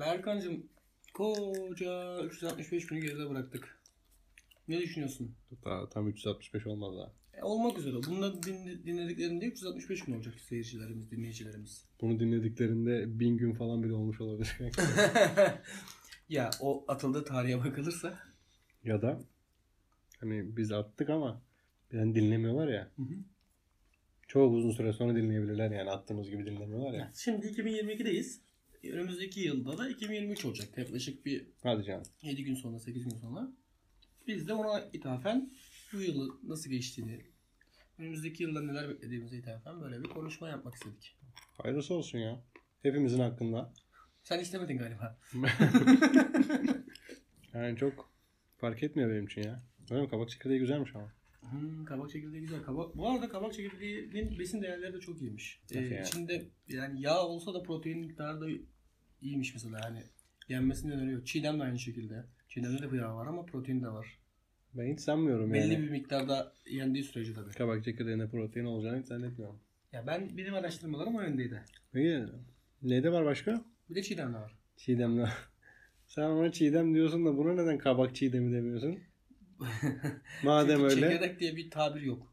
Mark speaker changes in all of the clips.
Speaker 1: Berkancığım koca 365 günü geride bıraktık. Ne düşünüyorsun?
Speaker 2: Daha tam 365 olmaz daha.
Speaker 1: E, olmak üzere. Bunları din- dinlediklerinde 365 gün olacak seyircilerimiz, dinleyicilerimiz.
Speaker 2: Bunu dinlediklerinde bin gün falan bile olmuş olabilir.
Speaker 1: ya o atıldığı tarihe bakılırsa.
Speaker 2: ya da hani biz attık ama yani dinlemiyorlar ya.
Speaker 1: Hı hı.
Speaker 2: Çok uzun süre sonra dinleyebilirler yani attığımız gibi dinlemiyorlar ya.
Speaker 1: Evet, Şimdi 2022'deyiz. Önümüzdeki yılda da 2023 olacak. Yaklaşık bir
Speaker 2: Hadi canım.
Speaker 1: 7 gün sonra, 8 gün sonra. Biz de ona ithafen bu yılı nasıl geçtiğini, önümüzdeki yılda neler beklediğimize ithafen böyle bir konuşma yapmak istedik.
Speaker 2: Hayırlısı olsun ya. Hepimizin hakkında.
Speaker 1: Sen istemedin galiba.
Speaker 2: Yani çok fark etmiyor benim için ya. Öyle mi? Kabak çekirdeği güzelmiş ama.
Speaker 1: Hmm, kabak çekirdeği güzel. Kabak, bu arada kabak çekirdeğinin besin değerleri de çok iyiymiş. Ee,
Speaker 2: Nasıl yani?
Speaker 1: içinde yani yağ olsa da protein miktarı da iyiymiş mesela. Hani yenmesini öneriyor. Çiğdem de aynı şekilde. Çiğdemde de bu yağ var ama protein de var.
Speaker 2: Ben hiç sanmıyorum yani.
Speaker 1: Belli bir miktarda yendiği sürece tabii.
Speaker 2: Kabak çekirdeğinde protein olacağını hiç zannetmiyorum.
Speaker 1: Ya ben benim araştırmalarım o yöndeydi.
Speaker 2: Peki neyde var başka?
Speaker 1: Bir de çiğdem de var.
Speaker 2: Çiğdem'de. Sen ona çiğdem diyorsun da buna neden kabak çiğdemi demiyorsun? Madem
Speaker 1: Çünkü
Speaker 2: öyle.
Speaker 1: Çekirdek diye bir tabir yok.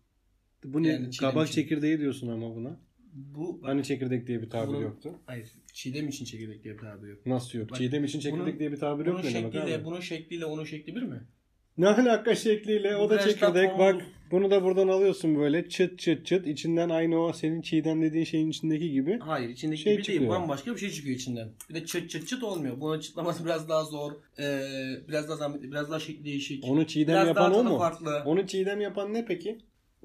Speaker 2: Bu ne?
Speaker 1: yani çiğdem
Speaker 2: kabak
Speaker 1: için.
Speaker 2: çekirdeği diyorsun ama buna.
Speaker 1: Bu
Speaker 2: Hani çekirdek diye bir tabir
Speaker 1: Bunun-
Speaker 2: yoktu.
Speaker 1: hayır çiğdem için çekirdek diye bir tabir yok.
Speaker 2: Nasıl yok?
Speaker 1: Bak,
Speaker 2: çiğdem için çekirdek
Speaker 1: bunun-
Speaker 2: diye bir tabir
Speaker 1: Bunun
Speaker 2: yok mu? ne bakar
Speaker 1: şekliyle,
Speaker 2: mısın?
Speaker 1: bunun şekliyle onun şekli bir mi?
Speaker 2: Ne alaka şekliyle?
Speaker 1: Bu
Speaker 2: O da
Speaker 1: biraz
Speaker 2: çekirdek.
Speaker 1: tatlı
Speaker 2: Bak
Speaker 1: oldu.
Speaker 2: bunu da buradan alıyorsun böyle çıt çıt çıt. İçinden aynı o senin çiğdem dediğin şeyin içindeki gibi.
Speaker 1: Hayır içindeki
Speaker 2: Şey
Speaker 1: gibi değil.
Speaker 2: çıkıyor.
Speaker 1: Bambaşka bir şey çıkıyor içinden. Bir de çıt çıt çıt olmuyor. Bunun çıtlaması biraz daha zor. Ee, biraz daha zahmetli. Biraz daha şekli değişik.
Speaker 2: Onu çiğdem
Speaker 1: biraz
Speaker 2: yapan
Speaker 1: daha
Speaker 2: o
Speaker 1: tadı
Speaker 2: mu?
Speaker 1: farklı.
Speaker 2: Onu çiğdem yapan ne peki?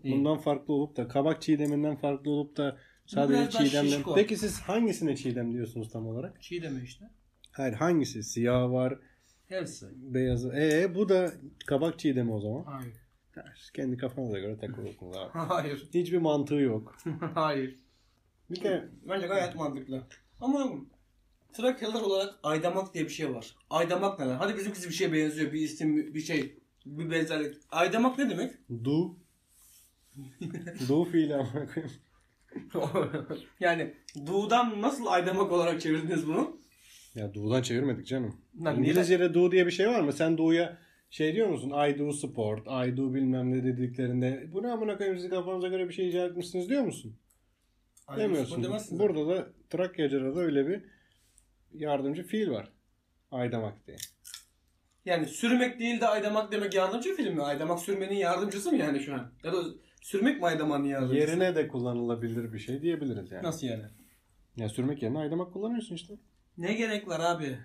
Speaker 1: Değil.
Speaker 2: Bundan farklı olup da kabak çiğdeminden farklı olup da sadece
Speaker 1: biraz daha şişko.
Speaker 2: çiğdemden. Peki siz hangisine çiğdem diyorsunuz tam olarak?
Speaker 1: Çiğdem işte.
Speaker 2: Hayır hangisi? Siyah var,
Speaker 1: Hepsi.
Speaker 2: beyazı. Ee bu da kabak çiğdemi o zaman.
Speaker 1: Hayır.
Speaker 2: şey Kendi kafanıza göre takılıyorsunuz abi.
Speaker 1: Hayır.
Speaker 2: Hiçbir mantığı yok.
Speaker 1: Hayır.
Speaker 2: Bir de
Speaker 1: Bence gayet mantıklı. Ama Trakyalılar olarak aydamak diye bir şey var. Aydamak ne lan? Hadi bizimkisi bir şeye benziyor. Bir isim, bir şey, bir benzerlik. Aydamak ne demek?
Speaker 2: du du fiili amına koyayım.
Speaker 1: yani du'dan nasıl aydamak olarak çevirdiniz bunu?
Speaker 2: Ya du'dan çevirmedik canım.
Speaker 1: Lan
Speaker 2: İngilizce'de do diye bir şey var mı? Sen do'ya şey diyor musun? I do sport, I do bilmem ne dediklerinde bu ne amına koyayım siz kafanıza göre bir şey icat etmişsiniz diyor musun?
Speaker 1: Aydamak
Speaker 2: Demiyorsun.
Speaker 1: demezsiniz.
Speaker 2: Burada da Trakyacı'da da öyle bir yardımcı fiil var. Aydamak diye.
Speaker 1: Yani sürmek değil de aydamak demek yardımcı film mi? Aydamak sürmenin yardımcısı mı yani şu an? Ya da sürmek mi aydamanın yardımcısı?
Speaker 2: Yerine de kullanılabilir bir şey diyebiliriz yani.
Speaker 1: Nasıl yani?
Speaker 2: Ya sürmek yerine aydamak kullanıyorsun işte.
Speaker 1: Ne gerek var abi?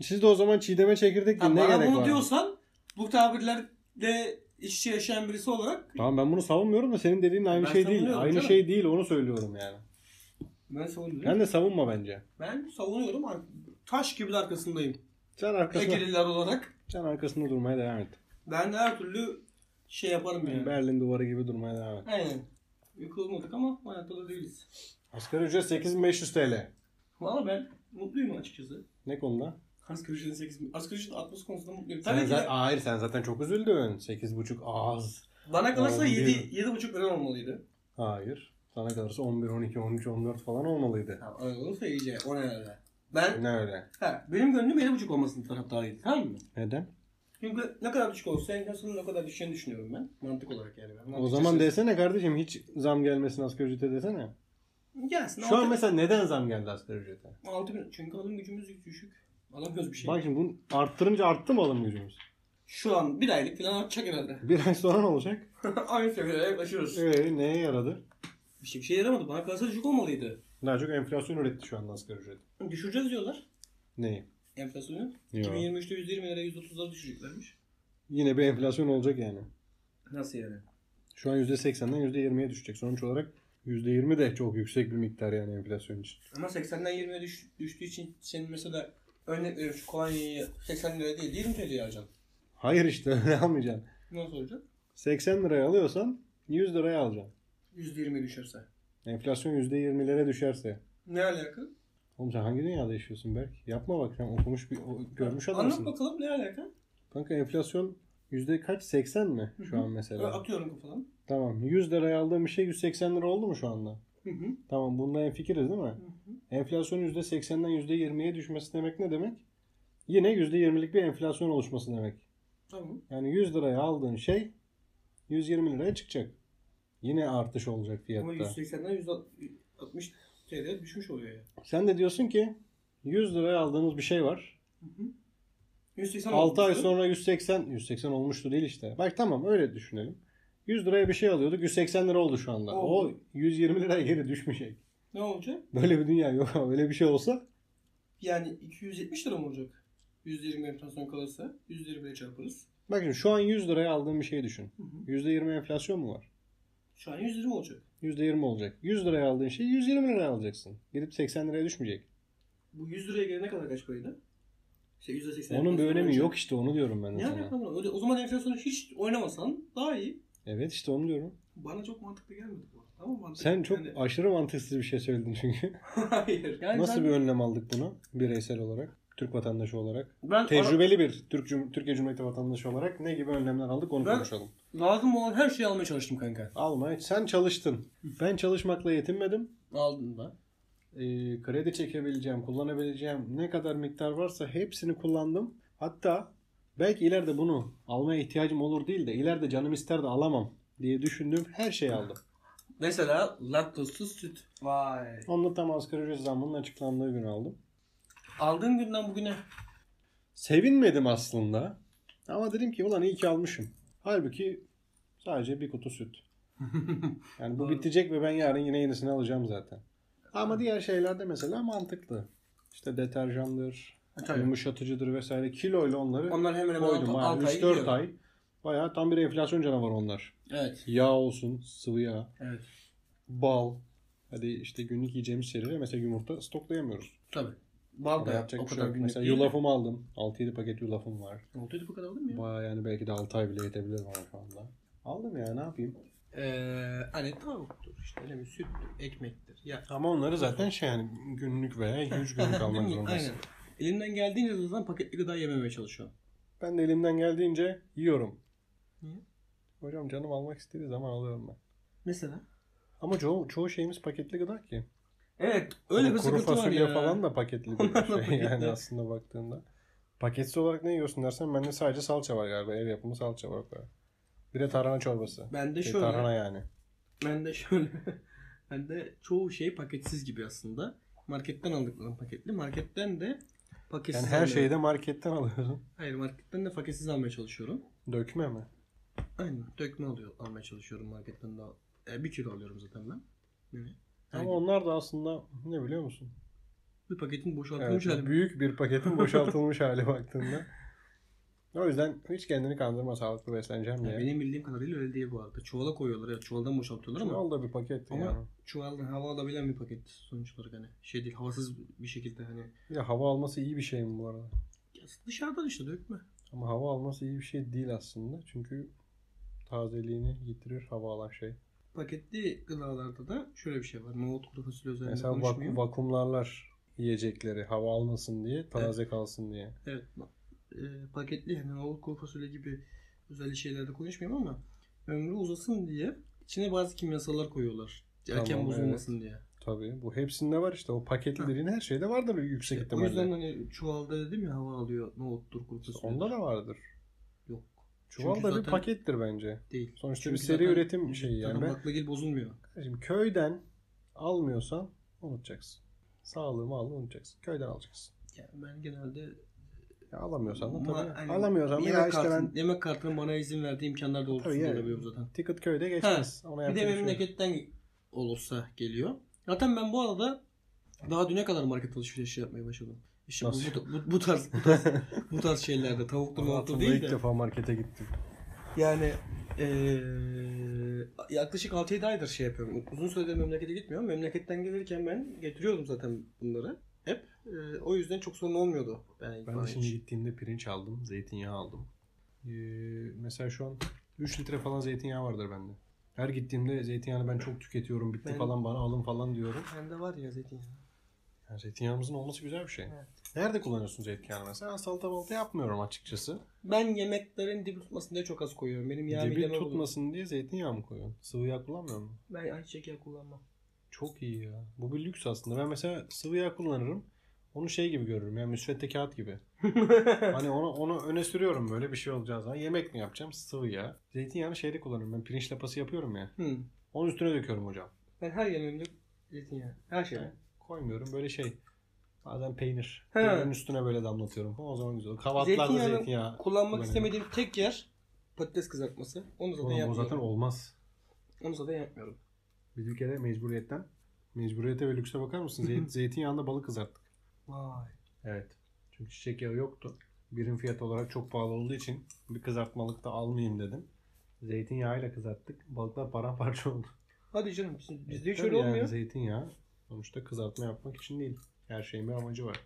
Speaker 2: Siz de o zaman çiğdeme çekirdek
Speaker 1: Ha,
Speaker 2: değil. Ne
Speaker 1: bana
Speaker 2: gerek
Speaker 1: bunu
Speaker 2: var?
Speaker 1: diyorsan bu tabirlerde iç içe yaşayan birisi olarak
Speaker 2: Tamam ben bunu savunmuyorum da senin dediğin aynı
Speaker 1: Ben
Speaker 2: şey değil.
Speaker 1: savunuyorum
Speaker 2: Aynı
Speaker 1: canım.
Speaker 2: şey değil onu söylüyorum yani.
Speaker 1: Ben savunuyorum.
Speaker 2: Ben de savunma bence.
Speaker 1: Ben savunuyorum. ama Taş gibi de arkasındayım.
Speaker 2: Sen arkasına,
Speaker 1: Egeliler olarak.
Speaker 2: sen arkasında durmaya devam et.
Speaker 1: Ben de her türlü şey yaparım yani.
Speaker 2: Berlin duvarı gibi durmaya devam et.
Speaker 1: Aynen. Yıkılmadık ama hayatta da değiliz.
Speaker 2: Asgari ücret 8500 TL.
Speaker 1: Valla ben mutluyum açıkçası.
Speaker 2: Ne konuda?
Speaker 1: Asgari ücretin 8 Asgari ücretin 60 konusunda mutluyum.
Speaker 2: Sen
Speaker 1: Tabii ki
Speaker 2: za-
Speaker 1: de
Speaker 2: hayır sen zaten çok üzüldün. 8,5 az.
Speaker 1: bana kalırsa
Speaker 2: Aa,
Speaker 1: 7,
Speaker 2: biliyorum.
Speaker 1: 7,5 lira olmalıydı.
Speaker 2: Hayır. Sana kalırsa 11, 12, 13, 14 falan olmalıydı.
Speaker 1: Ha, öyle olursa iyice. O ne öyle. Ben,
Speaker 2: Ne öyle?
Speaker 1: ha, benim gönlüm 7,5 olmasının taraftarıydı. Tamam mı?
Speaker 2: Neden?
Speaker 1: Çünkü ne kadar düşük olsa enflasyonun o kadar düşeceğini düşünüyorum ben. Mantık olarak yani. Ben
Speaker 2: O
Speaker 1: mantıkçası-
Speaker 2: zaman desene kardeşim hiç zam gelmesin asgari ücrete desene.
Speaker 1: Gelsin.
Speaker 2: Şu an
Speaker 1: altı-
Speaker 2: mesela neden zam geldi asgari ücrete?
Speaker 1: 6 bin. Çünkü alım gücümüz düşük. Alamıyoruz bir şey.
Speaker 2: Bak şimdi bunu arttırınca arttı mı alım gücümüz?
Speaker 1: Şu an bir aylık falan artacak herhalde.
Speaker 2: Bir ay sonra ne olacak?
Speaker 1: Aynı seviyeye yaklaşıyoruz.
Speaker 2: Ee, neye yaradı?
Speaker 1: Bir şey, bir şey yaramadı. Bana kalırsa düşük olmalıydı.
Speaker 2: Daha çok enflasyon üretti şu anda asgari ücret.
Speaker 1: Düşüreceğiz diyorlar.
Speaker 2: Neyi?
Speaker 1: Enflasyonu.
Speaker 2: Yo.
Speaker 1: 2023'te 120 lira 130'lara düşeceklermiş.
Speaker 2: Yine bir enflasyon olacak yani.
Speaker 1: Nasıl yani?
Speaker 2: Şu an %80'den %20'ye düşecek. Sonuç olarak %20 de çok yüksek bir miktar yani enflasyon için.
Speaker 1: Ama 80'den 20'ye düş, düştüğü için senin mesela örnek veriyorum şu kolonyayı 80 lira değil 20 TL'ye alacaksın.
Speaker 2: Hayır işte öyle almayacaksın.
Speaker 1: Nasıl olacak?
Speaker 2: 80 liraya alıyorsan 100 liraya alacaksın.
Speaker 1: 120 düşerse.
Speaker 2: Enflasyon %20'lere düşerse.
Speaker 1: Ne alaka?
Speaker 2: Oğlum sen hangi dünyada yaşıyorsun Berk? Yapma bak sen okumuş bir o- görmüş adamsın.
Speaker 1: Anlat bakalım ne alaka?
Speaker 2: Kanka enflasyon yüzde kaç? 80 mi şu an mesela?
Speaker 1: Atıyorum kafadan.
Speaker 2: Tamam. 100 liraya aldığım bir şey 180 lira oldu mu şu anda?
Speaker 1: Hı hı.
Speaker 2: Tamam bunda en fikiriz değil mi?
Speaker 1: Hı hı.
Speaker 2: Enflasyon %80'den %20'ye düşmesi demek ne demek? Yine %20'lik bir enflasyon oluşması demek.
Speaker 1: Tamam.
Speaker 2: Yani 100 liraya aldığın şey 120 liraya çıkacak. Yine artış olacak
Speaker 1: Ama
Speaker 2: fiyatta.
Speaker 1: 180'den 160 TL düşmüş oluyor ya.
Speaker 2: Sen de diyorsun ki 100 liraya aldığınız bir şey var.
Speaker 1: Hı hı. 180
Speaker 2: 6 ay
Speaker 1: olmuştu.
Speaker 2: sonra 180 180 olmuştu değil işte. Bak tamam öyle düşünelim. 100 liraya bir şey alıyorduk. 180 lira oldu şu anda.
Speaker 1: Oldu.
Speaker 2: O 120 liraya geri düşmeyecek.
Speaker 1: Ne olacak?
Speaker 2: Böyle bir dünya yok ama öyle bir şey olsa
Speaker 1: Yani 270 lira mı olacak? 120 enflasyon kalırsa 120'ye çarparız.
Speaker 2: bak şimdi şu an 100 liraya aldığın bir şeyi düşün.
Speaker 1: Hı hı.
Speaker 2: %20 enflasyon mu var?
Speaker 1: Şu an 120 olacak.
Speaker 2: %20 olacak. 100 liraya aldığın şeyi 120 liraya alacaksın. Gidip 80 liraya düşmeyecek.
Speaker 1: Bu 100 liraya gelene kadar kaç paraydı? İşte %80
Speaker 2: Onun bir
Speaker 1: enflasyon
Speaker 2: önemi
Speaker 1: olacak.
Speaker 2: yok işte onu diyorum ben de
Speaker 1: Ne
Speaker 2: sana.
Speaker 1: alakalı? Öyle, o zaman enflasyonu hiç oynamasan daha iyi.
Speaker 2: Evet işte onu diyorum.
Speaker 1: Bana çok mantıklı gelmedi bu. Ama mantıklı.
Speaker 2: Sen çok
Speaker 1: Yani-
Speaker 2: aşırı mantıksız bir şey söyledin çünkü.
Speaker 1: Hayır. Yani
Speaker 2: Nasıl
Speaker 1: ben,
Speaker 2: bir önlem aldık buna bireysel olarak? Türk vatandaşı olarak.
Speaker 1: ben ara-
Speaker 2: Tecrübeli bir Türk Cum- Türkiye Cumhuriyeti vatandaşı olarak ne gibi önlemler aldık onu
Speaker 1: Ben-
Speaker 2: konuşalım.
Speaker 1: lazım olan her şeyi almaya çalıştım kanka.
Speaker 2: Alma. Sen çalıştın. Ben çalışmakla yetinmedim.
Speaker 1: Aldım da.
Speaker 2: Ee, kredi çekebileceğim, kullanabileceğim ne kadar miktar varsa hepsini kullandım. Hatta belki ileride bunu almaya ihtiyacım olur değil de ileride canım ister de alamam diye düşündüğüm her şeyi aldım.
Speaker 1: Mesela laktozsuz süt. Vay.
Speaker 2: Onu da tam asgari ücret zammının açıklandığı gün aldım.
Speaker 1: Aldığım günden bugüne
Speaker 2: Sevinmedim aslında. Ama dedim ki ulan iyi ki almışım. Halbuki sadece bir kutu süt. Yani bu
Speaker 1: Doğru.
Speaker 2: bitecek ve ben yarın yine yenisini alacağım zaten. Ama diğer şeylerde mesela mantıklı. İşte deterjandır, yumuşatıcıdır vesaire kiloyla onları
Speaker 1: Onlar hemen hemen
Speaker 2: koydum.
Speaker 1: alt, alt
Speaker 2: ha,
Speaker 1: ay
Speaker 2: 3-4
Speaker 1: gidiyor.
Speaker 2: ay. Bayağı tam bir enflasyon canavarı onlar.
Speaker 1: Evet.
Speaker 2: Yağ olsun, sıvı yağ,
Speaker 1: Evet.
Speaker 2: bal. Hadi işte günlük yiyeceğimiz şeyleri mesela yumurta stoklayamıyoruz.
Speaker 1: Tabii. Bal
Speaker 2: Ama
Speaker 1: da
Speaker 2: yapacak
Speaker 1: o
Speaker 2: bir şey
Speaker 1: kadar
Speaker 2: yok.
Speaker 1: günlük
Speaker 2: Mesela
Speaker 1: değil.
Speaker 2: yulafımı aldım. 6-7 paket yulafım var.
Speaker 1: Oltuydu bu kadar oldu mu ya?
Speaker 2: Baya yani belki de 6 ay bile yetebilir bana şu anda. Aldım ya ne yapayım.
Speaker 1: Ee, hani tavuktur işte ne bileyim süttür, ekmektir. Ya.
Speaker 2: Ama onları zaten şey yani günlük veya 2-3 günlük almak
Speaker 1: Değil mi?
Speaker 2: zorundasın.
Speaker 1: Aynen. Elimden geldiğince zaten paketli gıda yememeye çalışıyorum.
Speaker 2: Ben de elimden geldiğince yiyorum.
Speaker 1: Niye?
Speaker 2: Hocam canım almak istediği zaman alıyorum ben.
Speaker 1: Mesela?
Speaker 2: Ama çoğu, çoğu şeyimiz paketli gıda ki.
Speaker 1: Evet. Öyle
Speaker 2: Hani
Speaker 1: bir
Speaker 2: kuru
Speaker 1: sıkıntı var
Speaker 2: fasulye
Speaker 1: ya.
Speaker 2: falan da paketli
Speaker 1: Onlar da
Speaker 2: bir şey yani
Speaker 1: paketli.
Speaker 2: aslında baktığında. Paketsiz olarak ne yiyorsun dersen bende sadece salça var galiba. Ev yapımı salça var. galiba. Bir de tarhana çorbası.
Speaker 1: Ben de
Speaker 2: Şey,
Speaker 1: E şöyle.
Speaker 2: tarhana yani.
Speaker 1: Ben de şöyle. ben de çoğu şey paketsiz gibi aslında. Marketten aldıklarım paketli. Marketten de paketsiz
Speaker 2: Yani her
Speaker 1: almaya-
Speaker 2: şeyi de marketten alıyorsun.
Speaker 1: Hayır marketten de paketsiz almaya çalışıyorum.
Speaker 2: Dökme mi?
Speaker 1: Aynen. Dökme alıyor, almaya çalışıyorum marketten de. E, bir kilo alıyorum zaten ben. Yani her
Speaker 2: Ama
Speaker 1: gün
Speaker 2: onlar da aslında ne biliyor musun?
Speaker 1: bir paketin
Speaker 2: Evet,
Speaker 1: boşaltılmış hali.
Speaker 2: büyük bir paketin boşaltılmış hali baktığında. O yüzden hiç kendini kandırma sağlıklı besleneceğim
Speaker 1: Yani
Speaker 2: diye.
Speaker 1: benim bildiğim kadarıyla öyle değil bu arada. Çuvala koyuyorlar. Evet, çuvaldan boşaltıyorlar ama
Speaker 2: Al da bir paket
Speaker 1: Ama-
Speaker 2: yani.
Speaker 1: çuvaldan hava alabilen bir paket sonuç olarak hani şey değil havasız bir şekilde hani
Speaker 2: Bir de hava alması iyi bir şey mi bu arada?
Speaker 1: Ya dışarıdan işte dökme.
Speaker 2: Ama hava alması iyi bir şey değil aslında. Çünkü tazeliğini yitirir hava alan şey.
Speaker 1: Paketli gıdalarda da şöyle bir şey var. Nohut kuru fasulye özelinde
Speaker 2: Mesela vak-
Speaker 1: konuşmayayım.
Speaker 2: vakumlarlar yiyecekleri hava almasın diye, taze kalsın diye.
Speaker 1: Evet. e, paketli yani nohut kuru fasulye gibi özel şeylerde konuşmayayım ama ömrü uzasın diye içine bazı kimyasallar koyuyorlar. Erken
Speaker 2: Tamam,
Speaker 1: bozulmasın diye.
Speaker 2: Tabii bu hepsinde var işte. O paketli
Speaker 1: Ha.
Speaker 2: dediğin her şeyde vardır yüksek
Speaker 1: o yüzden
Speaker 2: ihtimalle.
Speaker 1: hani çuvalda dedim ya hava alıyor nohuttur kuru fasulye.
Speaker 2: Onda da vardır.
Speaker 1: Yok.
Speaker 2: Çuval
Speaker 1: Çünkü
Speaker 2: da bir
Speaker 1: zaten-
Speaker 2: pakettir bence.
Speaker 1: Değil.
Speaker 2: Sonuçta
Speaker 1: Çünkü
Speaker 2: bir seri
Speaker 1: zaten-
Speaker 2: üretim şeyi yani.
Speaker 1: Zaten
Speaker 2: Ben-
Speaker 1: baklagil bozulmuyor.
Speaker 2: Şimdi köyden almıyorsan unutacaksın. Sağlığımı al unutacaksın. Köyden alacaksın.
Speaker 1: Yani ben genelde
Speaker 2: Ya alamıyorsan da
Speaker 1: Ma-
Speaker 2: tabii.
Speaker 1: aynen.
Speaker 2: Alamıyorsan da
Speaker 1: yemek,
Speaker 2: ya işte
Speaker 1: kartın,
Speaker 2: ben
Speaker 1: yemek kartının bana izin verdiği imkanlar
Speaker 2: Tabii,
Speaker 1: doğrultusunda
Speaker 2: yani.
Speaker 1: olabiliyorum zaten.
Speaker 2: ticket köyde geçmez. Ona
Speaker 1: Bir de
Speaker 2: yapacak şey yok.
Speaker 1: memleketten olursa geliyor. Zaten ben bu arada daha düne kadar market alışverişi yapmaya başladım. İşte bu,
Speaker 2: Nasıl?
Speaker 1: bu, bu, bu tarz bu tarz, bu tarz şeylerde tavuklu mavuklu
Speaker 2: Hayatımda
Speaker 1: değil
Speaker 2: ilk
Speaker 1: de
Speaker 2: defa markete gittim.
Speaker 1: yani eee, yaklaşık 6-7 aydır şey yapıyorum. Uzun süredir memlekete gitmiyorum. Memleketten gelirken ben getiriyordum zaten bunları hep. Eee, o yüzden çok sorun olmuyordu. Yani
Speaker 2: Ben
Speaker 1: bana
Speaker 2: de şimdi
Speaker 1: hiç.
Speaker 2: gittiğimde pirinç aldım. Zeytinyağı aldım. Ee, mesela şu an 3 litre falan zeytinyağı vardır bende. Her gittiğimde zeytinyağını ben çok tüketiyorum. Bitti
Speaker 1: Ben-
Speaker 2: falan bana alın falan diyorum.
Speaker 1: Bende var ya zeytinyağı.
Speaker 2: Yani zeytinyağımızın olması güzel bir şey.
Speaker 1: Evet.
Speaker 2: Nerede kullanıyorsun zeytinyağını mesela? Salata balta yapmıyorum açıkçası.
Speaker 1: Ben yemeklerin dibi tutmasını diye çok az koyuyorum. Benim yağ
Speaker 2: Dibi
Speaker 1: mideme tutmasın.
Speaker 2: tutmasın diye zeytinyağı mı koyuyorsun? Sıvı yağ kullanmıyor musun?
Speaker 1: Ben ayçiçek yağı kullanmam.
Speaker 2: Çok iyi ya. Bu bir lüks aslında. Ben mesela sıvı yağ kullanırım. Onu şey gibi görürüm. Yani müsvedde kağıt gibi. hani onu, onu öne sürüyorum böyle bir şey olacağı zaman. Yemek mi yapacağım? Sıvı yağ. Zeytinyağını şeyde kullanırım. Ben pirinç lapası yapıyorum ya.
Speaker 1: Hmm.
Speaker 2: Onun üstüne döküyorum hocam.
Speaker 1: Ben her yemeğimde zeytinyağı. Her şeyde.
Speaker 2: Koymuyorum böyle şey. Bazen peynir.
Speaker 1: He.
Speaker 2: Peynirin üstüne böyle damlatıyorum. falan. O zaman güzel. olur. Kahvaltılarda
Speaker 1: Zeytinyağını Kullanmak
Speaker 2: zeytinyağı. Kullanıyorum.
Speaker 1: istemediğim tek yer patates kızartması. Onu zaten
Speaker 2: Oğlum, o
Speaker 1: yapmıyorum.
Speaker 2: zaten olmaz.
Speaker 1: Onu zaten yapmıyorum.
Speaker 2: Biz bir kere mecburiyetten. Mecburiyete ve lükse bakar mısın? Zeyt, zeytinyağında balık kızarttık.
Speaker 1: Vay.
Speaker 2: Evet. Çünkü çiçek yağı yoktu. Birim fiyat olarak çok pahalı olduğu için bir kızartmalık da almayayım dedim. Zeytinyağıyla kızarttık. Balıklar paramparça oldu. E,
Speaker 1: Hadi canım biz- bizde hiç
Speaker 2: Tabii
Speaker 1: öyle
Speaker 2: yani
Speaker 1: olmuyor.
Speaker 2: Zeytinyağı sonuçta kızartma yapmak için değil. Her şeyin bir amacı var.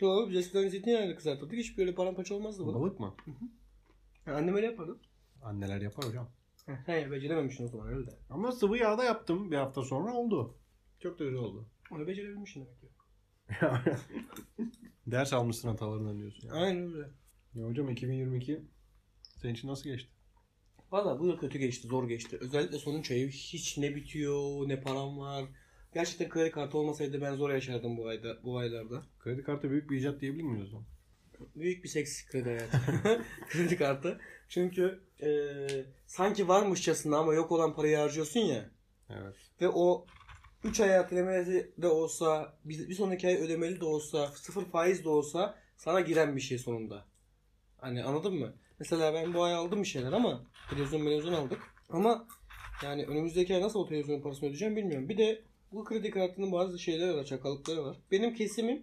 Speaker 1: Doğru biz eskiden zeytinyağıyla kızartırdık. Hiç böyle paramparça olmazdı bu.
Speaker 2: Balık mı?
Speaker 1: Yani annem öyle yapardı.
Speaker 2: Anneler yapar hocam.
Speaker 1: Heh, He becerememişsin o zaman öyle de.
Speaker 2: Ama sıvı yağda yaptım bir hafta sonra oldu. Çok da güzel oldu.
Speaker 1: Onu becerebilmişsin demek ki.
Speaker 2: Ders almışsın hatalarından diyorsun. Yani.
Speaker 1: Aynen öyle.
Speaker 2: Ya hocam 2022 senin için nasıl geçti?
Speaker 1: Valla bu yıl kötü geçti, zor geçti. Özellikle sonuç ayı hiç ne bitiyor, ne param var. Gerçekten kredi kartı olmasaydı ben zor yaşardım bu ayda, bu aylarda.
Speaker 2: Kredi kartı büyük bir icat diyebilir miyiz o zaman?
Speaker 1: Büyük bir seks kredi hayatı. kredi kartı. Çünkü eee, sanki varmışçasına ama yok olan parayı harcıyorsun ya.
Speaker 2: Evet.
Speaker 1: Ve o 3 ay ertelemeli de olsa, bir, bir sonraki ay ödemeli de olsa, sıfır faiz de olsa sana giren bir şey sonunda. Hani anladın mı? Mesela ben bu ay aldım bir şeyler ama televizyon televizyon aldık. Ama yani önümüzdeki ay nasıl o televizyonun parasını ödeyeceğim bilmiyorum. Bir de bu kredi kartının bazı şeyleri var, çakallıkları var. Benim kesimim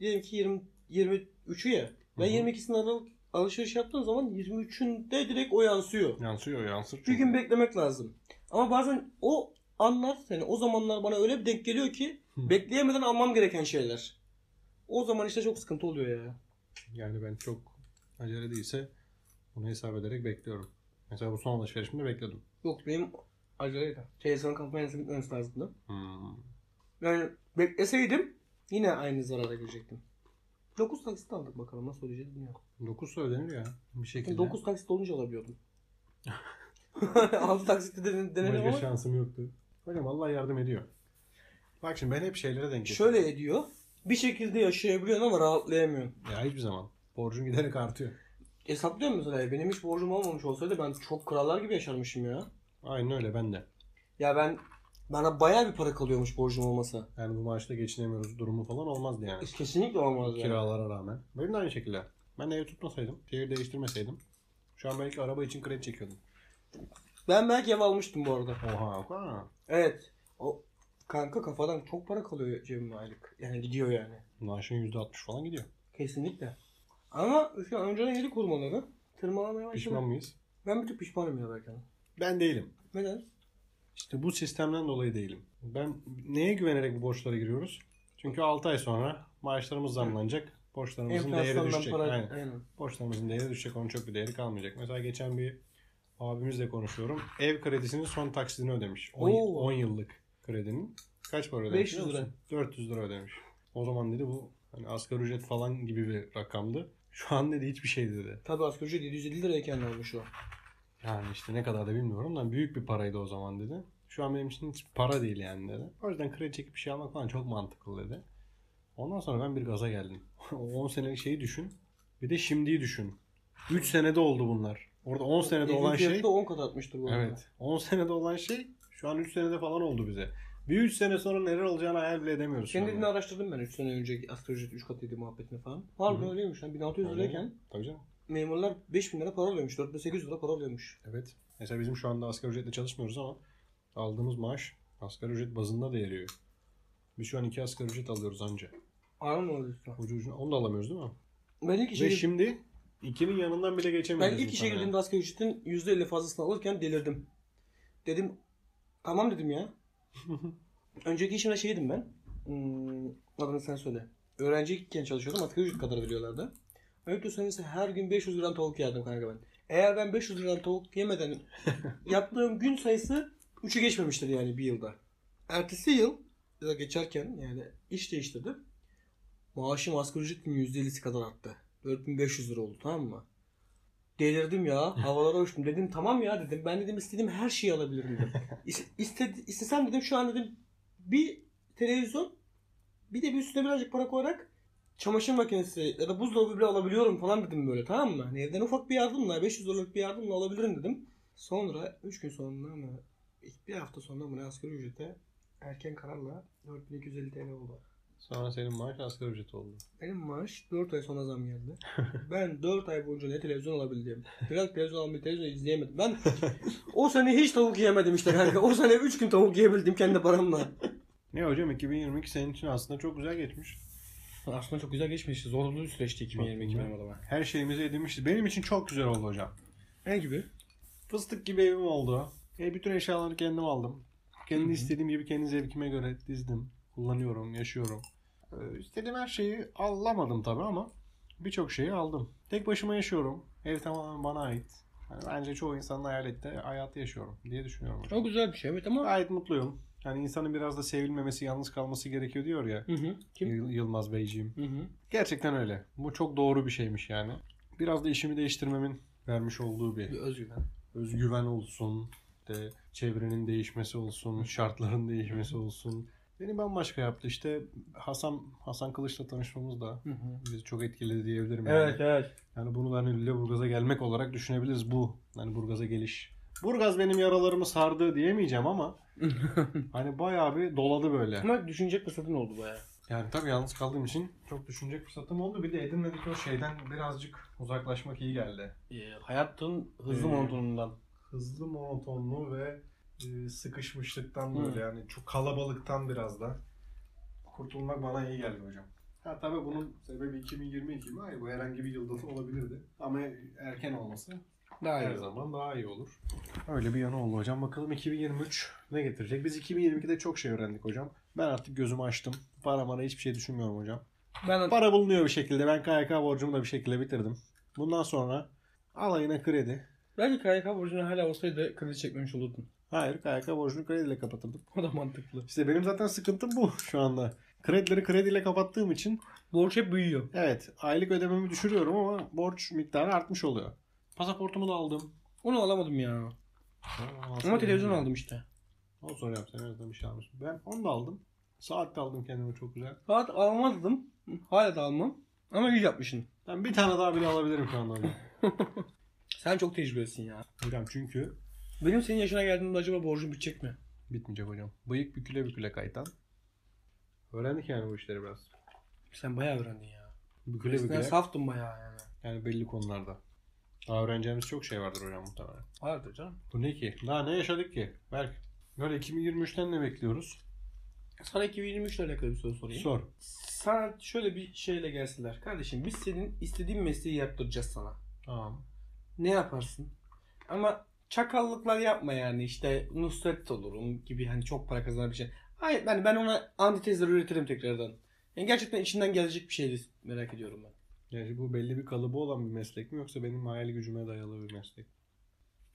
Speaker 1: diyelim ki 20, 23'ü ya. Ben
Speaker 2: Hı hı.
Speaker 1: 22'sinde aralık alışveriş yaptığım zaman 23'ünde direkt o yansıyor.
Speaker 2: Yansıyor yansır.
Speaker 1: Bir
Speaker 2: çünkü.
Speaker 1: gün beklemek lazım. Ama bazen o anlar yani o zamanlar bana öyle bir denk geliyor ki
Speaker 2: Hı.
Speaker 1: bekleyemeden almam gereken şeyler. O zaman işte çok sıkıntı oluyor ya.
Speaker 2: Yani ben çok acele değilse bunu hesap ederek bekliyorum. Mesela bu son alışverişimde bekledim.
Speaker 1: Yok benim aceleydi. Televizyon kampanyası bitmemesi lazımdı.
Speaker 2: Hmm.
Speaker 1: Yani bekleseydim yine aynı zarara girecektim. 9 taksit aldık bakalım nasıl ödeyeceğiz bilmiyorum.
Speaker 2: 9 ödenir ya bir şekilde.
Speaker 1: 9 taksit olunca alabiliyordum. 6 taksitte de denedim
Speaker 2: Başka
Speaker 1: ama
Speaker 2: şansım yoktu. Hocam Allah yardım ediyor. Bak şimdi ben hep şeylere denk geliyorum.
Speaker 1: şöyle ediyor. Bir şekilde yaşayabiliyorsun ama rahatlayamıyorsun.
Speaker 2: Ya hiçbir zaman. Borcun giderek artıyor.
Speaker 1: Hesaplıyorum mesela. Benim hiç borcum olmamış olsaydı ben çok krallar gibi yaşarmışım ya.
Speaker 2: Aynen öyle ben de.
Speaker 1: Ya ben bana bayağı bir para kalıyormuş borcum olmasa.
Speaker 2: Yani bu maaşla geçinemiyoruz durumu falan olmazdı yani.
Speaker 1: Hiç kesinlikle olmaz ya.
Speaker 2: Kiralara rağmen. Benim de aynı şekilde. Ben ev tutmasaydım, şehir değiştirmeseydim. Şu an belki araba için kredi çekiyordum.
Speaker 1: Ben belki ev almıştım bu arada.
Speaker 2: Oha. Ha.
Speaker 1: Evet. O kanka kafadan çok para kalıyor cebime aylık. Yani gidiyor yani.
Speaker 2: Maaşın %60 falan gidiyor.
Speaker 1: Kesinlikle. Ama şu an önceden yedik kurmaları. Tırmalamaya başladı.
Speaker 2: Pişman mıyız?
Speaker 1: Ben bir tık pişmanım ya belki.
Speaker 2: Ben değilim.
Speaker 1: Neden?
Speaker 2: İşte bu sistemden dolayı değilim. Ben neye güvenerek bu borçlara giriyoruz? Çünkü 6 ay sonra maaşlarımız zamlanacak. Borçlarımızın değeri
Speaker 1: Enflasyondan
Speaker 2: düşecek.
Speaker 1: para.
Speaker 2: Aynen.
Speaker 1: Aynen.
Speaker 2: Borçlarımızın değeri düşecek. Onun çok bir değeri kalmayacak. Mesela geçen bir abimizle konuşuyorum. Ev kredisinin son taksidini ödemiş.
Speaker 1: Oo.
Speaker 2: 10 yıllık kredinin. Kaç para ödemiş?
Speaker 1: 500 lira.
Speaker 2: 400 lira ödemiş. O zaman dedi bu hani asgari ücret falan gibi bir rakamdı. Şu an dedi hiçbir şey dedi.
Speaker 1: Tabii asgari ücret 750 lirayken almış o.
Speaker 2: Yani işte ne kadar da bilmiyorum da büyük bir paraydı o zaman dedi. Şu an benim için hiç para değil yani dedi. O yüzden kredi çekip bir şey almak falan çok mantıklı dedi. Ondan sonra ben bir gaza geldim. O 10 senelik şeyi düşün. Bir de şimdiyi düşün. 3 senede oldu bunlar. Orada 10 senede
Speaker 1: Evin
Speaker 2: olan şey...
Speaker 1: fiyatı da 10 kat atmıştır bu arada.
Speaker 2: Evet. 10 senede olan şey şu an 3 senede falan oldu bize. Bir 3 sene sonra neler olacağını hayal bile edemiyoruz. şu
Speaker 1: Kendi
Speaker 2: anda.
Speaker 1: evini araştırdım ben 3 sene önceki asgari ücret 3 katıydı muhabbetini falan. Harbiden
Speaker 2: Hı.
Speaker 1: öyleymiş. Yani 1600
Speaker 2: Öyle.
Speaker 1: lirayken
Speaker 2: Tabii canım.
Speaker 1: memurlar 5000 lira para alıyormuş. 4800 lira para alıyormuş.
Speaker 2: Evet. Mesela bizim şu anda asgari ücretle çalışmıyoruz ama aldığımız maaş asgari ücret bazında değeriyor. Biz şu an iki asgari ücret alıyoruz anca.
Speaker 1: Aynen öyle lütfen.
Speaker 2: Ucu ucuna onu da alamıyoruz değil mi?
Speaker 1: Ben ilk işe,
Speaker 2: Ve
Speaker 1: gir-
Speaker 2: şimdi ikinin yanından bile
Speaker 1: ben
Speaker 2: geçemiyoruz.
Speaker 1: ilk işe
Speaker 2: insanlar.
Speaker 1: girdiğimde asgari ücretin %50 fazlasını alırken delirdim. Dedim tamam dedim ya. Önceki işimde şeydim ben. Hmm, adını sen söyle. Öğrenciyken çalışıyordum. Asgari ücret kadar veriyorlardı. Öyle söyleyeyse her gün 500 liradan tavuk yerdim kanka ben. Eğer ben 500 liradan tavuk yemeden yaptığım gün sayısı 3'ü geçmemiştir yani bir yılda. Ertesi yıl ya da geçerken yani iş değiştirdim. Maaşım asgari ücretin %50'si kadar arttı. 4500 lira oldu tamam mı? Delirdim ya. Havalara uçtum. Dedim tamam ya dedim. Ben dedim istediğim her şeyi alabilirim dedim. İs- iste- istesem dedim şu an dedim bir televizyon bir de bir üstüne birazcık para koyarak çamaşır makinesi ya da buzdolabı bile alabiliyorum falan dedim böyle tamam mı? Hani evden ufak bir yardımla 500 dolarlık bir yardımla alabilirim dedim. Sonra 3 gün sonra mı bir hafta sonra mı ne asgari ücrete erken kararla 4250 TL oldu.
Speaker 2: Sonra senin maaş asgari ücret oldu.
Speaker 1: Benim maaş 4 ay sonra zam geldi. ben 4 ay boyunca ne televizyon alabildim. Biraz televizyon almayı televizyon izleyemedim. Ben o sene hiç tavuk yiyemedim işte kanka. O sene 3 gün tavuk yiyebildim kendi paramla.
Speaker 2: Ne hocam 2022 senin için aslında çok güzel geçmiş.
Speaker 1: Aslında çok güzel geçmişti. Zorlu bir süreçti
Speaker 2: 2022 benim
Speaker 1: adama.
Speaker 2: Her şeyimizi edinmişiz. Benim için çok güzel oldu hocam.
Speaker 1: Ne gibi?
Speaker 2: Fıstık gibi evim oldu. E, bütün eşyaları kendim aldım. Kendi
Speaker 1: Hı hı.
Speaker 2: istediğim gibi kendi zevkime göre dizdim. Kullanıyorum, yaşıyorum. E, istediğim her şeyi alamadım tabii ama birçok şeyi aldım. Tek başıma yaşıyorum. Ev tamamen bana ait. Yani bence çoğu insanın hayal ettiği hayatı yaşıyorum diye düşünüyorum. hocam.
Speaker 1: Çok güzel bir şey evet ama...
Speaker 2: Gayet mutluyum. Yani insanın biraz da sevilmemesi, yalnız kalması gerekiyor diyor ya.
Speaker 1: Hı hı. Kim?
Speaker 2: Yıl- Yılmaz Beyciğim.
Speaker 1: Hı hı.
Speaker 2: Gerçekten öyle. Bu çok doğru bir şeymiş yani. Biraz da işimi değiştirmemin vermiş olduğu bir
Speaker 1: Bir özgüven.
Speaker 2: özgüven olsun, de çevrenin değişmesi olsun, şartların değişmesi olsun. Beni bambaşka yaptı. İşte Hasan Hasan Kılıç'la tanışmamız da
Speaker 1: Hı hı.
Speaker 2: bizi çok etkiledi diyebilirim. yani.
Speaker 1: Evet evet.
Speaker 2: Yani bunu da hani Lüleburgaz'a gelmek olarak düşünebiliriz bu. Hani Burgaz'a geliş. Burgaz benim yaralarımı sardı diyemeyeceğim ama hani bayağı bir doladı böyle.
Speaker 1: Ama düşünecek fırsatın oldu baya.
Speaker 2: Yani tabii yalnız kaldığım için çok düşünecek fırsatım oldu. Bir de edinmedik o şeyden birazcık uzaklaşmak iyi geldi.
Speaker 1: Ee, hayatın
Speaker 2: hızlı
Speaker 1: hızlı monotonundan.
Speaker 2: Hızlı monotonluğu ve e, sıkışmışlıktan
Speaker 1: Hı.
Speaker 2: böyle yani çok kalabalıktan biraz da kurtulmak bana iyi geldi hocam. Ha tabii bunun sebebi 2022 mi? Hayır bu herhangi bir yılda da olabilirdi. Ama erken olması
Speaker 1: Daha
Speaker 2: her zaman daha iyi olur. Öyle bir yanı oldu hocam. Bakalım 2023 ne getirecek? Biz 2022'de çok şey öğrendik hocam. Ben artık gözümü açtım. Para mara hiçbir şey düşünmüyorum hocam.
Speaker 1: Ben
Speaker 2: Para bulunuyor bir şekilde. Ben KYK borcumu da bir şekilde bitirdim. Bundan sonra alayına kredi.
Speaker 1: belki KYK borcunu hala olsaydı kredi çekmemiş olurdun.
Speaker 2: Hayır KYK borcunu krediyle kapatırdım.
Speaker 1: O da mantıklı.
Speaker 2: İşte benim zaten sıkıntım bu şu anda. Kredileri krediyle kapattığım için
Speaker 1: Borç hep büyüyor.
Speaker 2: evet aylık ödememi düşürüyorum ama borç miktarı artmış oluyor. Pasaportumu da aldım.
Speaker 1: Onu alamadım ya. Ama
Speaker 2: Aslında
Speaker 1: televizyon
Speaker 2: bilmiyorum.
Speaker 1: aldım işte.
Speaker 2: Ondan sonra yapsam en azından bir şey almışım. Ben onu da aldım. Saat de aldım kendime çok güzel.
Speaker 1: Saat almazdım. Hala da almam. Ama iyi yapmışsın.
Speaker 2: Ben bir tane daha bile alabilirim şu anda.
Speaker 1: Sen çok tecrübelisin ya.
Speaker 2: hocam çünkü
Speaker 1: Benim senin yaşına geldiğimde acaba borcum bitecek mi?
Speaker 2: bitmeyecek hocam. Bıyık büküle büküle kaytan. Öğrendik yani bu işleri biraz.
Speaker 1: Sen bayağı öğrendin ya.
Speaker 2: Büküle
Speaker 1: Eskiden
Speaker 2: büküle.
Speaker 1: saftın bayağı yani.
Speaker 2: Yani belli konularda. Daha öğreneceğimiz çok şey vardır hocam muhtemelen.
Speaker 1: Vardır canım.
Speaker 2: Bu ne ki? Daha ne yaşadık ki? Berk. Böyle 2023'ten ne bekliyoruz?
Speaker 1: Sana 2023 ile alakalı bir soru sorayım.
Speaker 2: Sor.
Speaker 1: Sana şöyle bir şeyle gelseler. Kardeşim biz senin istediğin mesleği yaptıracağız sana.
Speaker 2: Tamam.
Speaker 1: Ne yaparsın? Ama çakallıklar yapma yani işte Nusret olurum gibi hani çok para kazanabilecek. Hayır yani ben ona antitezler üretirim tekrardan. Yani gerçekten içinden gelecek bir şeydi merak ediyorum ben.
Speaker 2: Yani bu belli bir kalıbı olan bir meslek mi yoksa benim hayal gücüme dayalı bir meslek mi?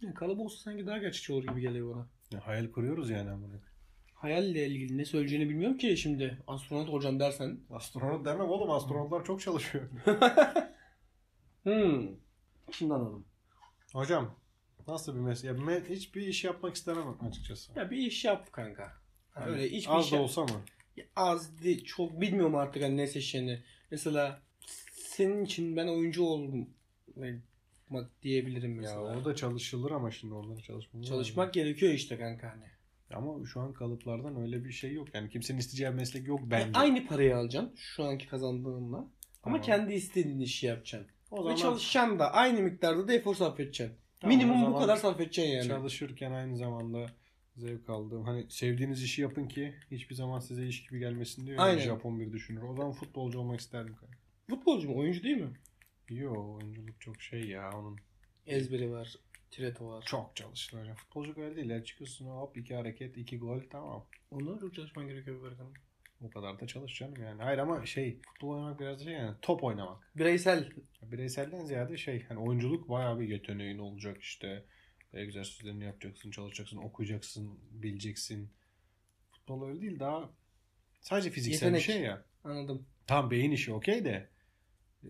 Speaker 1: Ya kalıbı olsa sanki daha gerçekçi olur gibi geliyor bana.
Speaker 2: Ya hayal kuruyoruz yani amına.
Speaker 1: Hayalle ilgili ne söyleyeceğini bilmiyorum ki şimdi. Astronot olacağım dersen.
Speaker 2: Astronot demem oğlum. Astronotlar çok çalışıyor.
Speaker 1: Hmm. Şundan anladım.
Speaker 2: Hocam nasıl bir meslek? Ya ben hiçbir iş yapmak istemem açıkçası.
Speaker 1: Ya bir iş yap kanka. Ha,
Speaker 2: Yani
Speaker 1: Öyle hiçbir
Speaker 2: Az
Speaker 1: iş
Speaker 2: da
Speaker 1: yap-
Speaker 2: olsa mı?
Speaker 1: Ya az değil, çok bilmiyorum artık hani ne seçeceğini. Mesela senin için ben oyuncu oldum yani, bak diyebilirim
Speaker 2: Ya
Speaker 1: mesela.
Speaker 2: orada çalışılır ama şimdi onlara çalışmamız lazım.
Speaker 1: Çalışmak gerekiyor işte kanka hani.
Speaker 2: Ama şu an kalıplardan öyle bir şey yok. Yani kimsenin isteyeceği bir meslek yok bence.
Speaker 1: Yani E, aynı parayı alacaksın şu anki kazandığınla. Ama
Speaker 2: Tamam.
Speaker 1: kendi istediğin işi yapacaksın.
Speaker 2: O
Speaker 1: Ve çalışacaksın da aynı miktarda da efor sarf edeceksin.
Speaker 2: Tamam, o
Speaker 1: Minimum bu
Speaker 2: zaman-
Speaker 1: kadar sarf edeceksin yani.
Speaker 2: Çalışırken aynı zamanda zevk aldığım hani sevdiğiniz işi yapın ki hiçbir zaman size iş gibi gelmesin diyor. ya,
Speaker 1: Aynen.
Speaker 2: Japon bir düşünür. O zaman futbolcu olmak isterdim. kanka.
Speaker 1: Futbolcu mu? Oyuncu değil mi?
Speaker 2: Yo oyunculuk çok şey ya onun.
Speaker 1: Ezberi var. Tireto var.
Speaker 2: Çok çalışılır. hocam. Futbolculuk öyle değil. ya. Çıkıyorsun hop iki hareket iki gol tamam.
Speaker 1: Ondan çok çalışman gerekiyor bir bakalım.
Speaker 2: O kadar da çalış canım yani. Hayır ama şey futbol oynamak biraz da şey yani top oynamak.
Speaker 1: Bireysel.
Speaker 2: Bireyselden ziyade şey hani oyunculuk bayağı bir yeteneğin olacak işte. Egzersizlerini yapacaksın, çalışacaksın, okuyacaksın, bileceksin. Futbol öyle değil daha sadece fiziksel
Speaker 1: Yetenek.
Speaker 2: bir şey ya.
Speaker 1: Anladım.
Speaker 2: Tam beyin işi okey de e,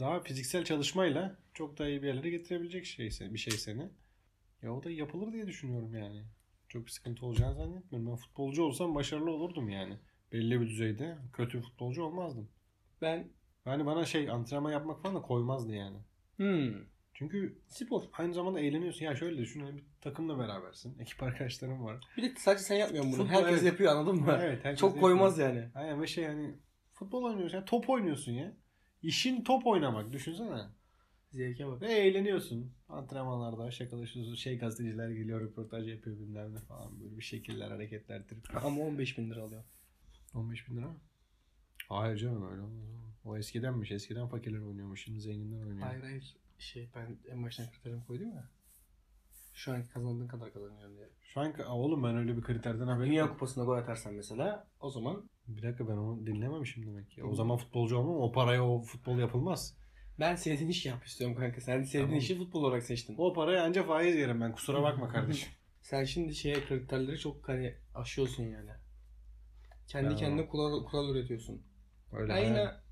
Speaker 2: daha fiziksel çalışmayla çok daha iyi bir yerlere getirebilecek şey seni, bir şey seni. Ya o da yapılır diye düşünüyorum yani. Çok bir sıkıntı olacağını zannetmiyorum. Ben futbolcu olsam başarılı olurdum yani. Belli bir düzeyde kötü bir futbolcu olmazdım.
Speaker 1: Ben
Speaker 2: Yani bana şey antrenman yapmak falan da koymazdı yani.
Speaker 1: hmm,
Speaker 2: Çünkü
Speaker 1: spor.
Speaker 2: aynı zamanda eğleniyorsun. Ya şöyle düşün hani bir takımla berabersin. Ekip arkadaşlarım var.
Speaker 1: Bir de sadece sen yapmıyorsun bunu.
Speaker 2: Futbol,
Speaker 1: Herkes
Speaker 2: evet.
Speaker 1: yapıyor anladın mı?
Speaker 2: Evet, herkes
Speaker 1: Çok koymaz yani.
Speaker 2: Aynen ve şey hani futbol oynuyorsun. Yani top oynuyorsun ya. İşin top oynamak düşünsene.
Speaker 1: Zevke bak.
Speaker 2: Ve eğleniyorsun. Antrenmanlarda şakalaşıyorsun. Şey gazeteciler geliyor röportaj yapıyor bilmem ne falan. Böyle bir şekiller hareketler tripler.
Speaker 1: Ama 15 bin lira alıyor.
Speaker 2: 15 bin lira mı? Hayır canım öyle olmaz. oğlum. O eskidenmiş. Eskiden fakirler oynuyormuş. Şimdi zenginler oynuyor.
Speaker 1: Hayır hayır. Şey ben en baştan kriterimi koydum ya. Şu anki kazandığın kadar kazanıyorum diye.
Speaker 2: Şu an Aa, oğlum ben öyle bir kriterden haberim
Speaker 1: Dünya
Speaker 2: yok.
Speaker 1: Kupası'nda gol atarsan mesela o zaman
Speaker 2: Bir dakika ben onu dinlememişim demek ki. O
Speaker 1: Hı.
Speaker 2: zaman futbolcu olmam. O paraya o futbol yapılmaz.
Speaker 1: ben sevdiğin işi yap istiyorum kanka. Sen sevdiğin
Speaker 2: Tamam.
Speaker 1: işi futbol olarak seçtin.
Speaker 2: O paraya anca faiz yerim ben. Kusura bakma kardeşim.
Speaker 1: Sen şimdi şeye kriterleri çok hani aşıyorsun yani. Kendi
Speaker 2: Ben-
Speaker 1: kendine kural, kural üretiyorsun.
Speaker 2: öyle hayal-
Speaker 1: Aynen.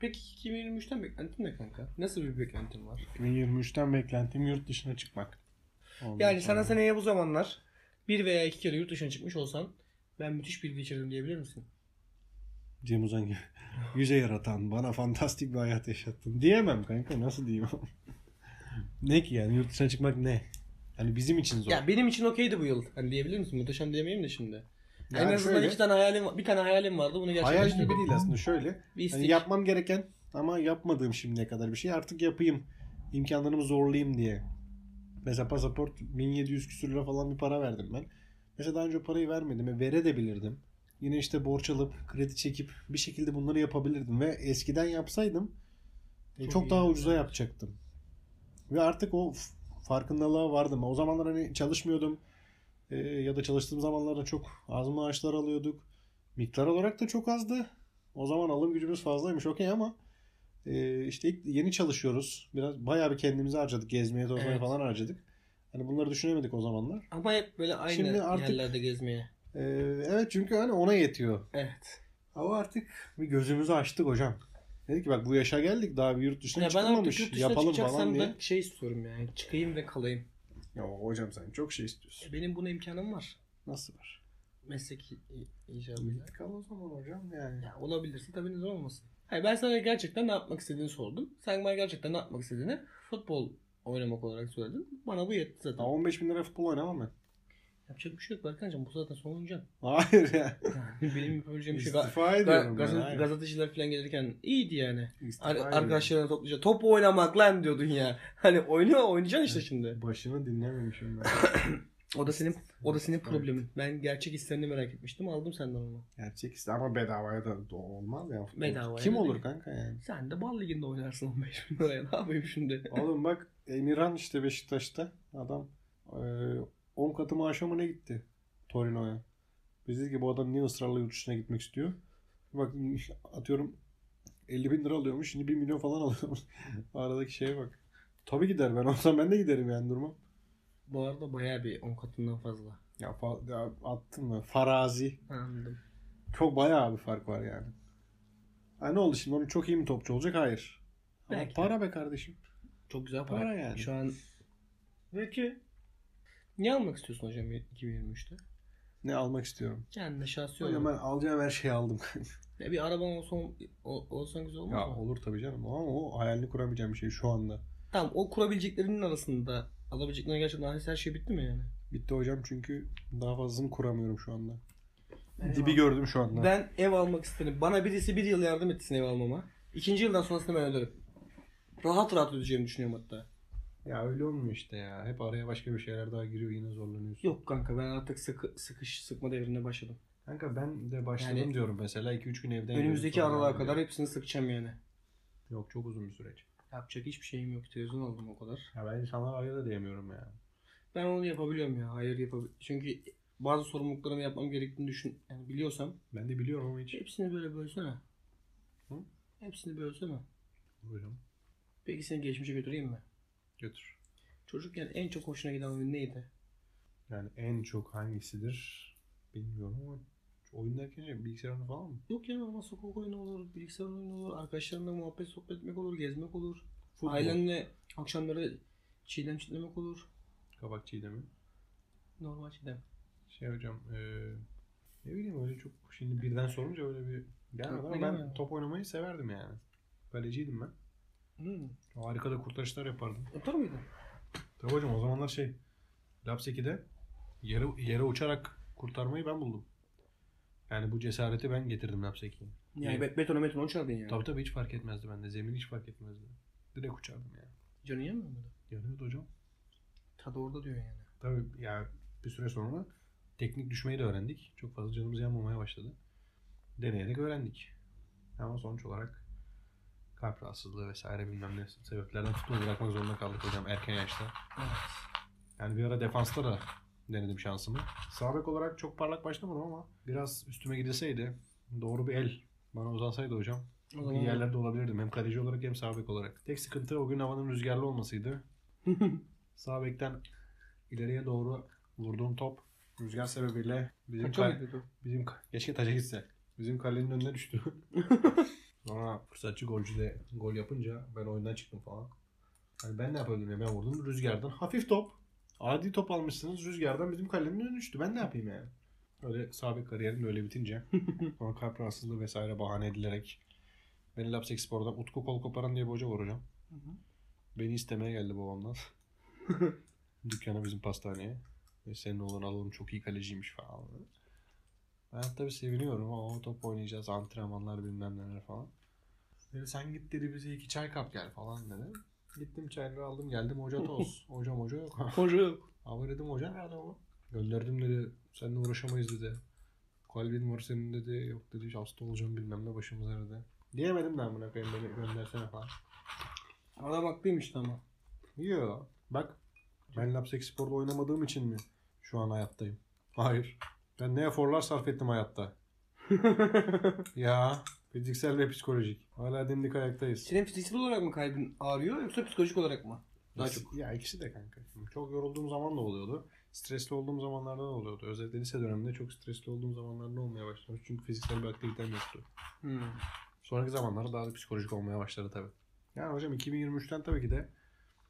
Speaker 1: Peki 2023'ten beklentin ne kanka? Nasıl bir beklentin var?
Speaker 2: 2023'ten beklentim yurt dışına çıkmak. Ondan
Speaker 1: Yani sana
Speaker 2: sonra-
Speaker 1: seneye bu zamanlar bir veya iki kere yurt dışına çıkmış olsan ben müthiş bir geçirdim diyebilir misin?
Speaker 2: Cem Uzan gibi. Yüze yaratan, bana fantastik bir hayat yaşattın. Diyemem kanka nasıl diyeyim? ne ki yani yurt dışına çıkmak ne? Hani bizim için zor.
Speaker 1: Ya benim için okeydi bu yıl. Hani diyebilir misin? Muhteşem diyemeyeyim de şimdi.
Speaker 2: Yani
Speaker 1: en azından
Speaker 2: şöyle,
Speaker 1: iki tane hayalim var. Bir tane hayalim vardı. Bunu
Speaker 2: hayal
Speaker 1: gerçekleştirdim.
Speaker 2: gibi değil aslında şöyle.
Speaker 1: Bir istek.
Speaker 2: Hani yapmam gereken ama yapmadığım şimdiye kadar bir şey artık yapayım. İmkanlarımı zorlayayım diye. Mesela pasaport 1700 küsür lira falan bir para verdim ben. Mesela daha önce o parayı vermedim. E, verebilirdim. Yine işte borç alıp, kredi çekip bir şekilde bunları yapabilirdim. Ve eskiden yapsaydım e,
Speaker 1: Çok
Speaker 2: çok,
Speaker 1: iyi
Speaker 2: daha
Speaker 1: yani.
Speaker 2: ucuza yapacaktım. Ve artık o f- farkındalığa vardım. O zamanlar hani çalışmıyordum. E, ya da çalıştığım zamanlarda çok az maaşlar alıyorduk. Miktar olarak da çok azdı. O zaman alım gücümüz fazlaymış okey ama e, işte ilk yeni çalışıyoruz. Biraz bayağı bir kendimizi harcadık. Gezmeye, tozmaya
Speaker 1: Evet. falan
Speaker 2: falan harcadık. Hani bunları düşünemedik o zamanlar.
Speaker 1: Ama hep böyle aynı
Speaker 2: Şimdi artık-
Speaker 1: yerlerde gezmeye.
Speaker 2: evet çünkü hani ona yetiyor.
Speaker 1: Evet.
Speaker 2: Ama artık bir gözümüzü açtık hocam. Dedik ki bak bu yaşa geldik daha bir yurt dışına
Speaker 1: Ya ben artık
Speaker 2: çıkılmamış.
Speaker 1: yurt dışına
Speaker 2: Yapalım
Speaker 1: çıkacaksam
Speaker 2: falan diye.
Speaker 1: ben şey istiyorum yani. Çıkayım ve kalayım.
Speaker 2: Ya hocam sen çok şey istiyorsun.
Speaker 1: E, Benim buna imkanım var.
Speaker 2: Nasıl var?
Speaker 1: Mesleki i- icabıyla.
Speaker 2: Kal o zaman hocam yani.
Speaker 1: Ya olabilirse tabii neden olmasın. Hayır ben sana gerçekten ne yapmak istediğini sordum. Sen bana gerçekten ne yapmak istediğini futbol oynamak olarak söyledin. Bana bu yetti zaten.
Speaker 2: Ya 15 bin lira futbol oynamam ben.
Speaker 1: Yapacak bir şey yok Berkancığım. Bu zaten sonuncam.
Speaker 2: Hayır ya.
Speaker 1: Yani benim yapabileceğim bir şey. Ga-
Speaker 2: İstifa ediyorum
Speaker 1: ga-
Speaker 2: ben.
Speaker 1: gazete-
Speaker 2: hayır.
Speaker 1: gazeteciler falan gelirken iyiydi yani.
Speaker 2: İstifa
Speaker 1: Ar-
Speaker 2: ediyorum.
Speaker 1: arkadaşlarına topluca top oynamak lan diyordun ya. Hani oynuyor oynayacaksın işte şimdi.
Speaker 2: Başını dinlememişim ben.
Speaker 1: O da senin o da senin
Speaker 2: Evet.
Speaker 1: problemin. Ben gerçek hislerini merak etmiştim. Aldım senden onu.
Speaker 2: Gerçek işte ama bedavaya da do- olmaz ya. futbol.
Speaker 1: Bedavaya
Speaker 2: Kim
Speaker 1: da
Speaker 2: olur
Speaker 1: değil.
Speaker 2: kanka yani?
Speaker 1: Sen de bal liginde oynarsın 15 bin liraya. Ne yapayım şimdi?
Speaker 2: Oğlum bak Emirhan işte Beşiktaş'ta adam eee, 10 katı maaşa mı ne gitti Torino'ya. Biz dedik ki bu adam niye ısrarla yurt dışına gitmek istiyor? Bak atıyorum 50 bin lira alıyormuş şimdi 1 milyon falan alıyormuş. Aradaki şeye bak. Tabii gider ben olsam ben de giderim yani durmam.
Speaker 1: Bu arada bayağı bir 10 katından fazla.
Speaker 2: Ya, fa- ya attın mı? Farazi.
Speaker 1: Anladım.
Speaker 2: Çok bayağı bir fark var yani. Ha ne oldu şimdi? Onun çok iyi mi topçu olacak? Hayır. Ama
Speaker 1: Belki.
Speaker 2: para be kardeşim.
Speaker 1: Çok güzel para.
Speaker 2: Para yani.
Speaker 1: Şu an Peki. Ne almak istiyorsun hocam 2023'te?
Speaker 2: Ne almak istiyorum?
Speaker 1: Kendine şahsi
Speaker 2: Hocam ben
Speaker 1: olarak.
Speaker 2: alacağım her şeyi aldım.
Speaker 1: Ya bir araban olsa, ol- olsan güzel olmaz
Speaker 2: ya
Speaker 1: mı?
Speaker 2: olur tabii canım ama o hayalini kuramayacağım bir şey şu anda.
Speaker 1: Tamam o kurabileceklerinin arasında alabileceklerine gerçekten neredeyse her şey bitti mi yani?
Speaker 2: Bitti hocam çünkü daha fazlasını kuramıyorum şu anda.
Speaker 1: Ben
Speaker 2: Dibi
Speaker 1: ev-
Speaker 2: gördüm şu anda.
Speaker 1: Ben ev almak isterim. Bana birisi bir yıl yardım etsin ev almama. İkinci yıldan sonrasını ben öderim. Rahat rahat ödeyeceğimi düşünüyorum hatta.
Speaker 2: Ya öyle olmuyor işte ya. Hep araya başka bir şeyler daha giriyor yine zorlanıyorsun.
Speaker 1: Yok kanka ben artık sıkı, sıkış sıkma devrine başladım.
Speaker 2: Kanka ben de başladım
Speaker 1: Yani-
Speaker 2: diyorum mesela 2-3 gün evden
Speaker 1: Önümüzdeki
Speaker 2: yiyorum, sonra
Speaker 1: aralığa
Speaker 2: evden
Speaker 1: kadar
Speaker 2: yiyorum.
Speaker 1: hepsini sıkacağım yani.
Speaker 2: Yok çok uzun bir süreç.
Speaker 1: Yapacak hiçbir şeyim yok. Televizyon aldım o kadar.
Speaker 2: Ya ben insanlara hayır da diyemiyorum ya.
Speaker 1: Ben onu yapabiliyorum ya. Hayır yapabiliyorum. Çünkü bazı sorumluluklarımı yapmam gerektiğini düşün. Yani biliyorsam
Speaker 2: Ben de biliyorum ama hiç.
Speaker 1: hepsini böyle bölsene.
Speaker 2: Hı?
Speaker 1: Hepsini bölsene.
Speaker 2: Buyurun
Speaker 1: Peki seni geçmişe götüreyim mi?
Speaker 2: götür.
Speaker 1: Çocukken en çok hoşuna giden oyun neydi?
Speaker 2: Yani en çok hangisidir bilmiyorum ama oyun derken şey, bilgisayar oyunu falan mı?
Speaker 1: Yok ya normal sokak oyunu olur, bilgisayar oyunu olur, arkadaşlarınla muhabbet sohbet etmek olur, gezmek olur.
Speaker 2: Futbol.
Speaker 1: Ailenle akşamları çiğdem çitlemek olur.
Speaker 2: Kabak çiğdemi.
Speaker 1: Normal şeyden.
Speaker 2: Şey hocam eee, ne bileyim öyle çok şimdi birden sorunca öyle bir gelmedi ama
Speaker 1: Aklıma
Speaker 2: ben
Speaker 1: gelmedi.
Speaker 2: top oynamayı severdim yani. Kaleciydim ben.
Speaker 1: Hmm.
Speaker 2: Harika da kurtarışlar yapardım.
Speaker 1: Atar mıydı?
Speaker 2: Tabii hocam o zamanlar şey Lapseki'de yere, yere uçarak kurtarmayı ben buldum. Yani bu cesareti ben getirdim Lapseki'ye.
Speaker 1: Yani
Speaker 2: Yani
Speaker 1: bet betona metona uçardın yani.
Speaker 2: Tabii tabii hiç fark etmezdi bende. Zemin hiç fark etmezdi. Direkt uçardım yani.
Speaker 1: Canı yemiyor muydu?
Speaker 2: Yanıyordu hocam.
Speaker 1: Tadı orada diyor yani.
Speaker 2: Tabii yani bir süre sonra teknik düşmeyi de öğrendik. Çok fazla canımız yanmamaya başladı. Deneyerek öğrendik. Ama sonuç olarak kalp rahatsızlığı vesaire bilmem ne sebeplerden futbolu bırakmak zorunda kaldık hocam erken yaşta.
Speaker 1: Evet.
Speaker 2: Yani bir ara defansta da denedim şansımı. Sağ bek olarak çok parlak başlamadım ama biraz üstüme gidilseydi doğru bir el bana uzansaydı hocam
Speaker 1: O
Speaker 2: bir yerlerde olabilirdim. Hem kaleci olarak hem sağ bek olarak. Tek sıkıntı o gün havanın rüzgarlı olmasıydı. Sağ bekten ileriye doğru vurduğum top rüzgar sebebiyle bizim
Speaker 1: Kaça
Speaker 2: kale-
Speaker 1: gidiyordu?
Speaker 2: bizim ka- keşke taca gitse. Bizim kalenin önüne düştü. Sonra fırsatçı golcü de gol yapınca ben oyundan çıktım falan. Hani ben ne yapabilirim ya? ben vurdum rüzgardan hafif top. Adi top almışsınız rüzgardan bizim kalenin önüne düştü. Ben ne yapayım yani? Öyle sabit kariyerim de öyle bitince sonra kalp rahatsızlığı vesaire bahane edilerek beni Lapsek Spor'dan Utku Kol Koparan diye bir hoca var hocam.
Speaker 1: Hı hı.
Speaker 2: Beni istemeye geldi babamdan. Dükkana bizim pastaneye. Ve senin oğlan alalım çok iyi kaleciymiş falan. Ben tabii seviniyorum. O top oynayacağız, antrenmanlar bilmem neler falan. Dedi sen git dedi bize iki çay kap gel falan dedi. Gittim çayları aldım geldim hoca toz. hocam hoca yok.
Speaker 1: Hoca.
Speaker 2: Ama dedim hoca nerede o? Gönderdim dedi. Seninle uğraşamayız dedi. Kalbin var senin dedi. Yok dedi hasta olacağım bilmem ne başımız ağrıdı. Diyemedim ben buna koyayım beni göndersene falan.
Speaker 1: Adam haklıymıştı ama.
Speaker 2: Yo. Bak ben Lapsek Spor'da oynamadığım için mi şu an hayattayım? Hayır. Ben ne eforlar sarf ettim hayatta. ya fiziksel ve psikolojik. Hala dimdik ayaktayız.
Speaker 1: Senin fiziksel olarak mı kalbin ağrıyor yoksa psikolojik olarak mı? Daha çok.
Speaker 2: Ya ikisi de kanka. Çok yorulduğum zaman da oluyordu. Stresli olduğum zamanlarda da oluyordu. Özellikle lise döneminde çok stresli olduğum zamanlarda olmaya başlamış. Çünkü fiziksel bir aktivitem yoktu.
Speaker 1: Hmm.
Speaker 2: Sonraki zamanlarda daha da psikolojik olmaya başladı tabii. Yani hocam 2023'ten tabii ki de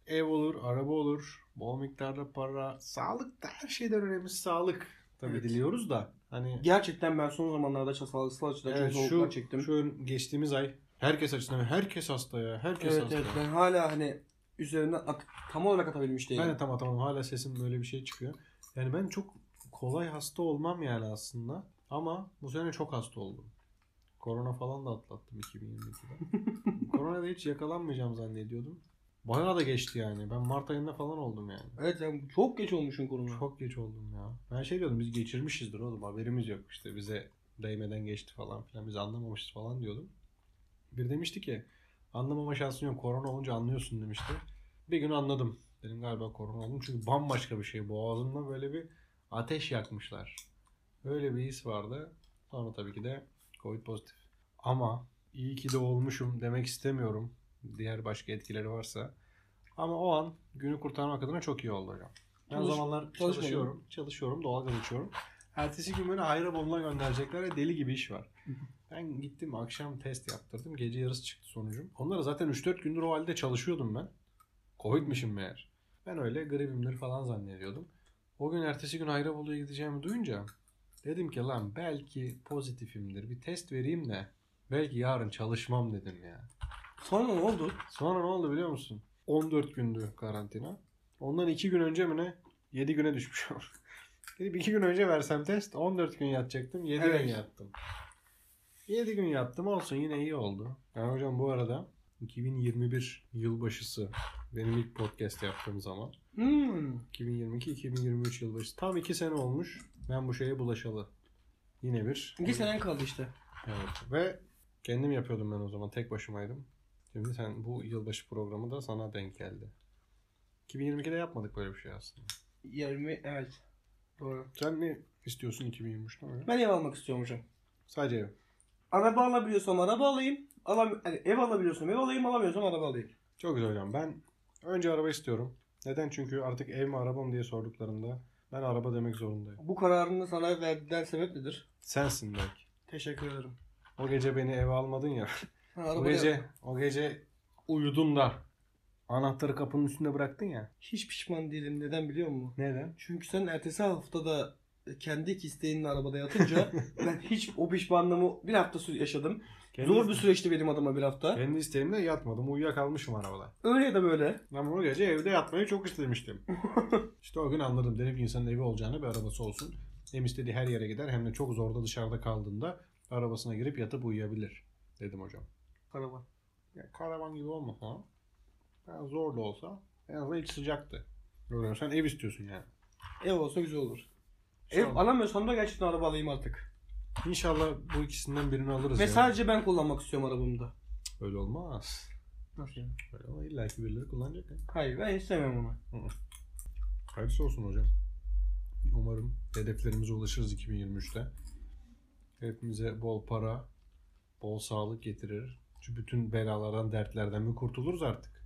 Speaker 2: ev olur, araba olur, bol miktarda para, sağlık da her şeyden önemlisi sağlık. Tabii
Speaker 1: Evet.
Speaker 2: diliyoruz da hani
Speaker 1: Gerçekten ben son zamanlarda çok sağlıksal açıdan
Speaker 2: evet,
Speaker 1: çok zorluklar
Speaker 2: şu,
Speaker 1: çektim.
Speaker 2: şu ön- geçtiğimiz ay herkes açısından herkes hasta ya, herkes
Speaker 1: evet
Speaker 2: hasta.
Speaker 1: evet ben hala hani üzerine at- tam olarak atabilmiş değilim.
Speaker 2: Ben de tam tamam hala sesim böyle bir şey çıkıyor. Yani ben çok kolay hasta olmam yani aslında. Ama bu sene çok hasta oldum. Korona falan da atlattım 2022'de. Koronada hiç yakalanmayacağım zannediyordum. Bayağı da geçti yani. Ben Mart ayında falan oldum yani.
Speaker 1: Evet sen çok geç olmuşsun korona.
Speaker 2: Çok geç oldum ya. Ben şey diyordum biz geçirmişizdir oğlum haberimiz yok işte bize değmeden geçti falan filan biz anlamamışız falan diyordum. Bir demişti ki anlamama şansın yok korona olunca anlıyorsun demişti. Bir gün anladım. Dedim galiba korona oldum çünkü bambaşka bir şey boğazımda böyle bir ateş yakmışlar. Öyle bir his vardı. Sonra tabii ki de covid pozitif. Ama iyi ki de olmuşum demek istemiyorum. Diğer başka etkileri varsa. Ama o an günü kurtarmak adına çok iyi oldu hocam. Ben o
Speaker 1: Çalış-
Speaker 2: zamanlar
Speaker 1: çalışmadım.
Speaker 2: çalışıyorum. Çalışıyorum. Doğalgaz içiyorum. Ertesi gün beni hayra bomba gönderecekler ve deli gibi iş var. Ben gittim akşam test yaptırdım. Gece yarısı çıktı sonucum. Onlara zaten 3-4 gündür o halde çalışıyordum ben. Covid'mişim meğer. Ben öyle gribimdir falan zannediyordum. O gün ertesi gün Hayrebolu'ya gideceğimi duyunca dedim ki lan belki pozitifimdir. Bir test vereyim de belki yarın çalışmam dedim ya.
Speaker 1: Sonra ne oldu?
Speaker 2: Sonra ne oldu biliyor musun? 14 gündü karantina. Ondan 2 gün önce mi ne? 7 güne düşmüşüm. Dedim 2 gün önce versem test 14 gün yatacaktım. 7
Speaker 1: Evet.
Speaker 2: gün yattım. 7 gün yattım olsun yine iyi oldu. Yani hocam bu arada 2021 yılbaşısı benim ilk podcast yaptığım zaman.
Speaker 1: Hmm.
Speaker 2: 2022-2023 yılbaşı. Tam 2 sene olmuş ben bu şeye bulaşalı. Yine bir.
Speaker 1: İki senen kaldı işte.
Speaker 2: Evet. Ve kendim yapıyordum ben o zaman. Tek başımaydım. Şimdi sen bu yılbaşı programı da sana denk geldi. 2022'de yapmadık böyle bir şey aslında.
Speaker 1: 20 evet. Doğru.
Speaker 2: Sen ne istiyorsun 2023'te? öyle?
Speaker 1: Ben ev almak istiyorum hocam.
Speaker 2: Sadece ev.
Speaker 1: Araba alabiliyorsam araba alayım. Alam hani ev alabiliyorsam ev alayım, alamıyorsam araba alayım.
Speaker 2: Çok güzel hocam. Ben önce araba istiyorum. Neden? Çünkü artık ev mi araba mı diye sorduklarında ben araba demek zorundayım.
Speaker 1: Bu kararını sana verdiğinden sebep nedir?
Speaker 2: Sensin belki.
Speaker 1: Teşekkür ederim.
Speaker 2: O gece beni eve almadın ya.
Speaker 1: Ha,
Speaker 2: o
Speaker 1: araba
Speaker 2: gece, o gece uyudun da Anahtarı kapının üstünde bıraktın ya.
Speaker 1: Hiç pişman değilim. Neden biliyor musun?
Speaker 2: Neden?
Speaker 1: Çünkü sen ertesi haftada e, kendi isteğinle arabada yatınca ben hiç o pişmanlığımı bir hafta sü- yaşadım. Zor bir süreçti benim adıma bir hafta.
Speaker 2: Kendi isteğimle yatmadım. Uyuyakalmışım arabada.
Speaker 1: Öyle ya da böyle.
Speaker 2: Ben o gece evde yatmayı çok istemiştim. işte o gün anladım. Dedim ki insanın evi olacağına bir arabası olsun. Hem istediği her yere gider hem de çok zorda dışarıda kaldığında arabasına girip yatıp uyuyabilir. Dedim hocam.
Speaker 1: Karavan.
Speaker 2: Ya karavan gibi olmasa ama yani zor da olsa en azından iç sıcaktı. Öyle sen ev istiyorsun yani.
Speaker 1: Ev olsa güzel olur. Ev
Speaker 2: İnşallah,
Speaker 1: alamıyorsam da gerçekten araba alayım artık.
Speaker 2: İnşallah bu ikisinden birini alırız
Speaker 1: Ve
Speaker 2: ya.
Speaker 1: sadece ben kullanmak istiyorum arabamda.
Speaker 2: Öyle olmaz.
Speaker 1: Nasıl yani?
Speaker 2: Öyle ama illa ki birileri kullanacak ya.
Speaker 1: Hayır ben istemem onu.
Speaker 2: Hayırlısı olsun hocam. Umarım hedeflerimize ulaşırız 2023'te. Hepimize bol para, bol sağlık getirir. Şu bütün belalardan, dertlerden bir kurtuluruz artık.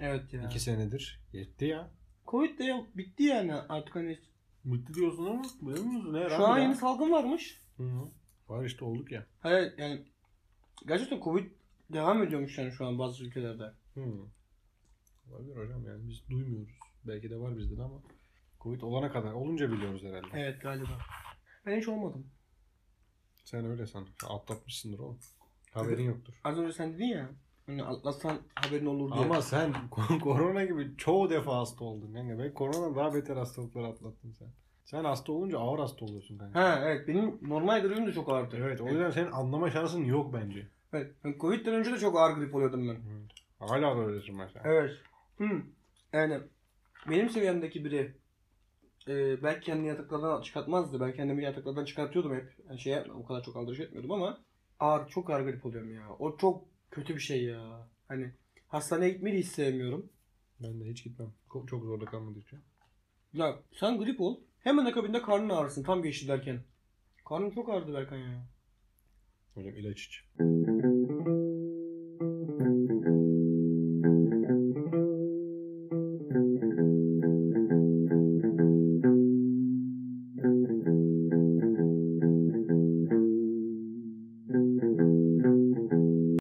Speaker 1: Evet ya.
Speaker 2: İki senedir yetti ya.
Speaker 1: Covid de yok. Bitti yani artık hani.
Speaker 2: Mutlu diyorsun ama beğenmiyorsun herhalde.
Speaker 1: Şu an yeni salgın varmış.
Speaker 2: Hı. Var işte olduk ya.
Speaker 1: Hayır yani. Gerçekten Covid devam ediyormuş yani şu an bazı ülkelerde.
Speaker 2: Hmm. Olabilir hocam yani biz duymuyoruz. Belki de var bizde de ama Covid olana kadar olunca biliyoruz herhalde.
Speaker 1: Evet galiba. Ben hiç olmadım.
Speaker 2: Sen öyle san. Atlatmışsındır oğlum. Haberin yoktur.
Speaker 1: Az önce sen dedin ya. Hani atlatsan haberin olur diye.
Speaker 2: Ama sen ko- korona gibi çoğu defa hasta oldun kanka. Ben korona daha beter hastalıklar atlattın sen. Sen hasta olunca ağır hasta oluyorsun kanka.
Speaker 1: Ha evet benim normal gripim de çok ağırdı.
Speaker 2: Evet o
Speaker 1: evet.
Speaker 2: yüzden senin anlama şansın yok bence.
Speaker 1: Ben Covid'den önce de çok ağır grip oluyordum ben.
Speaker 2: Hala da öylesin mesela.
Speaker 1: Evet. Hı. Yani benim seviyemdeki biri e, belki kendini yataklardan çıkartmazdı. Ben kendimi yataklardan çıkartıyordum hep. Yani şey yapma, o kadar çok aldırış etmiyordum ama ağır, çok ağır grip oluyorum ya. O çok kötü bir şey ya. Hani hastaneye gitmeyi hiç sevmiyorum.
Speaker 2: Ben de hiç gitmem. Ko- Çok zorda kalmadıkça.
Speaker 1: Ya sen grip ol. Hemen akabinde karnın ağrısın tam geçti derken. Karnım çok ağrıdı Berkan ya.
Speaker 2: Hocam ilaç iç.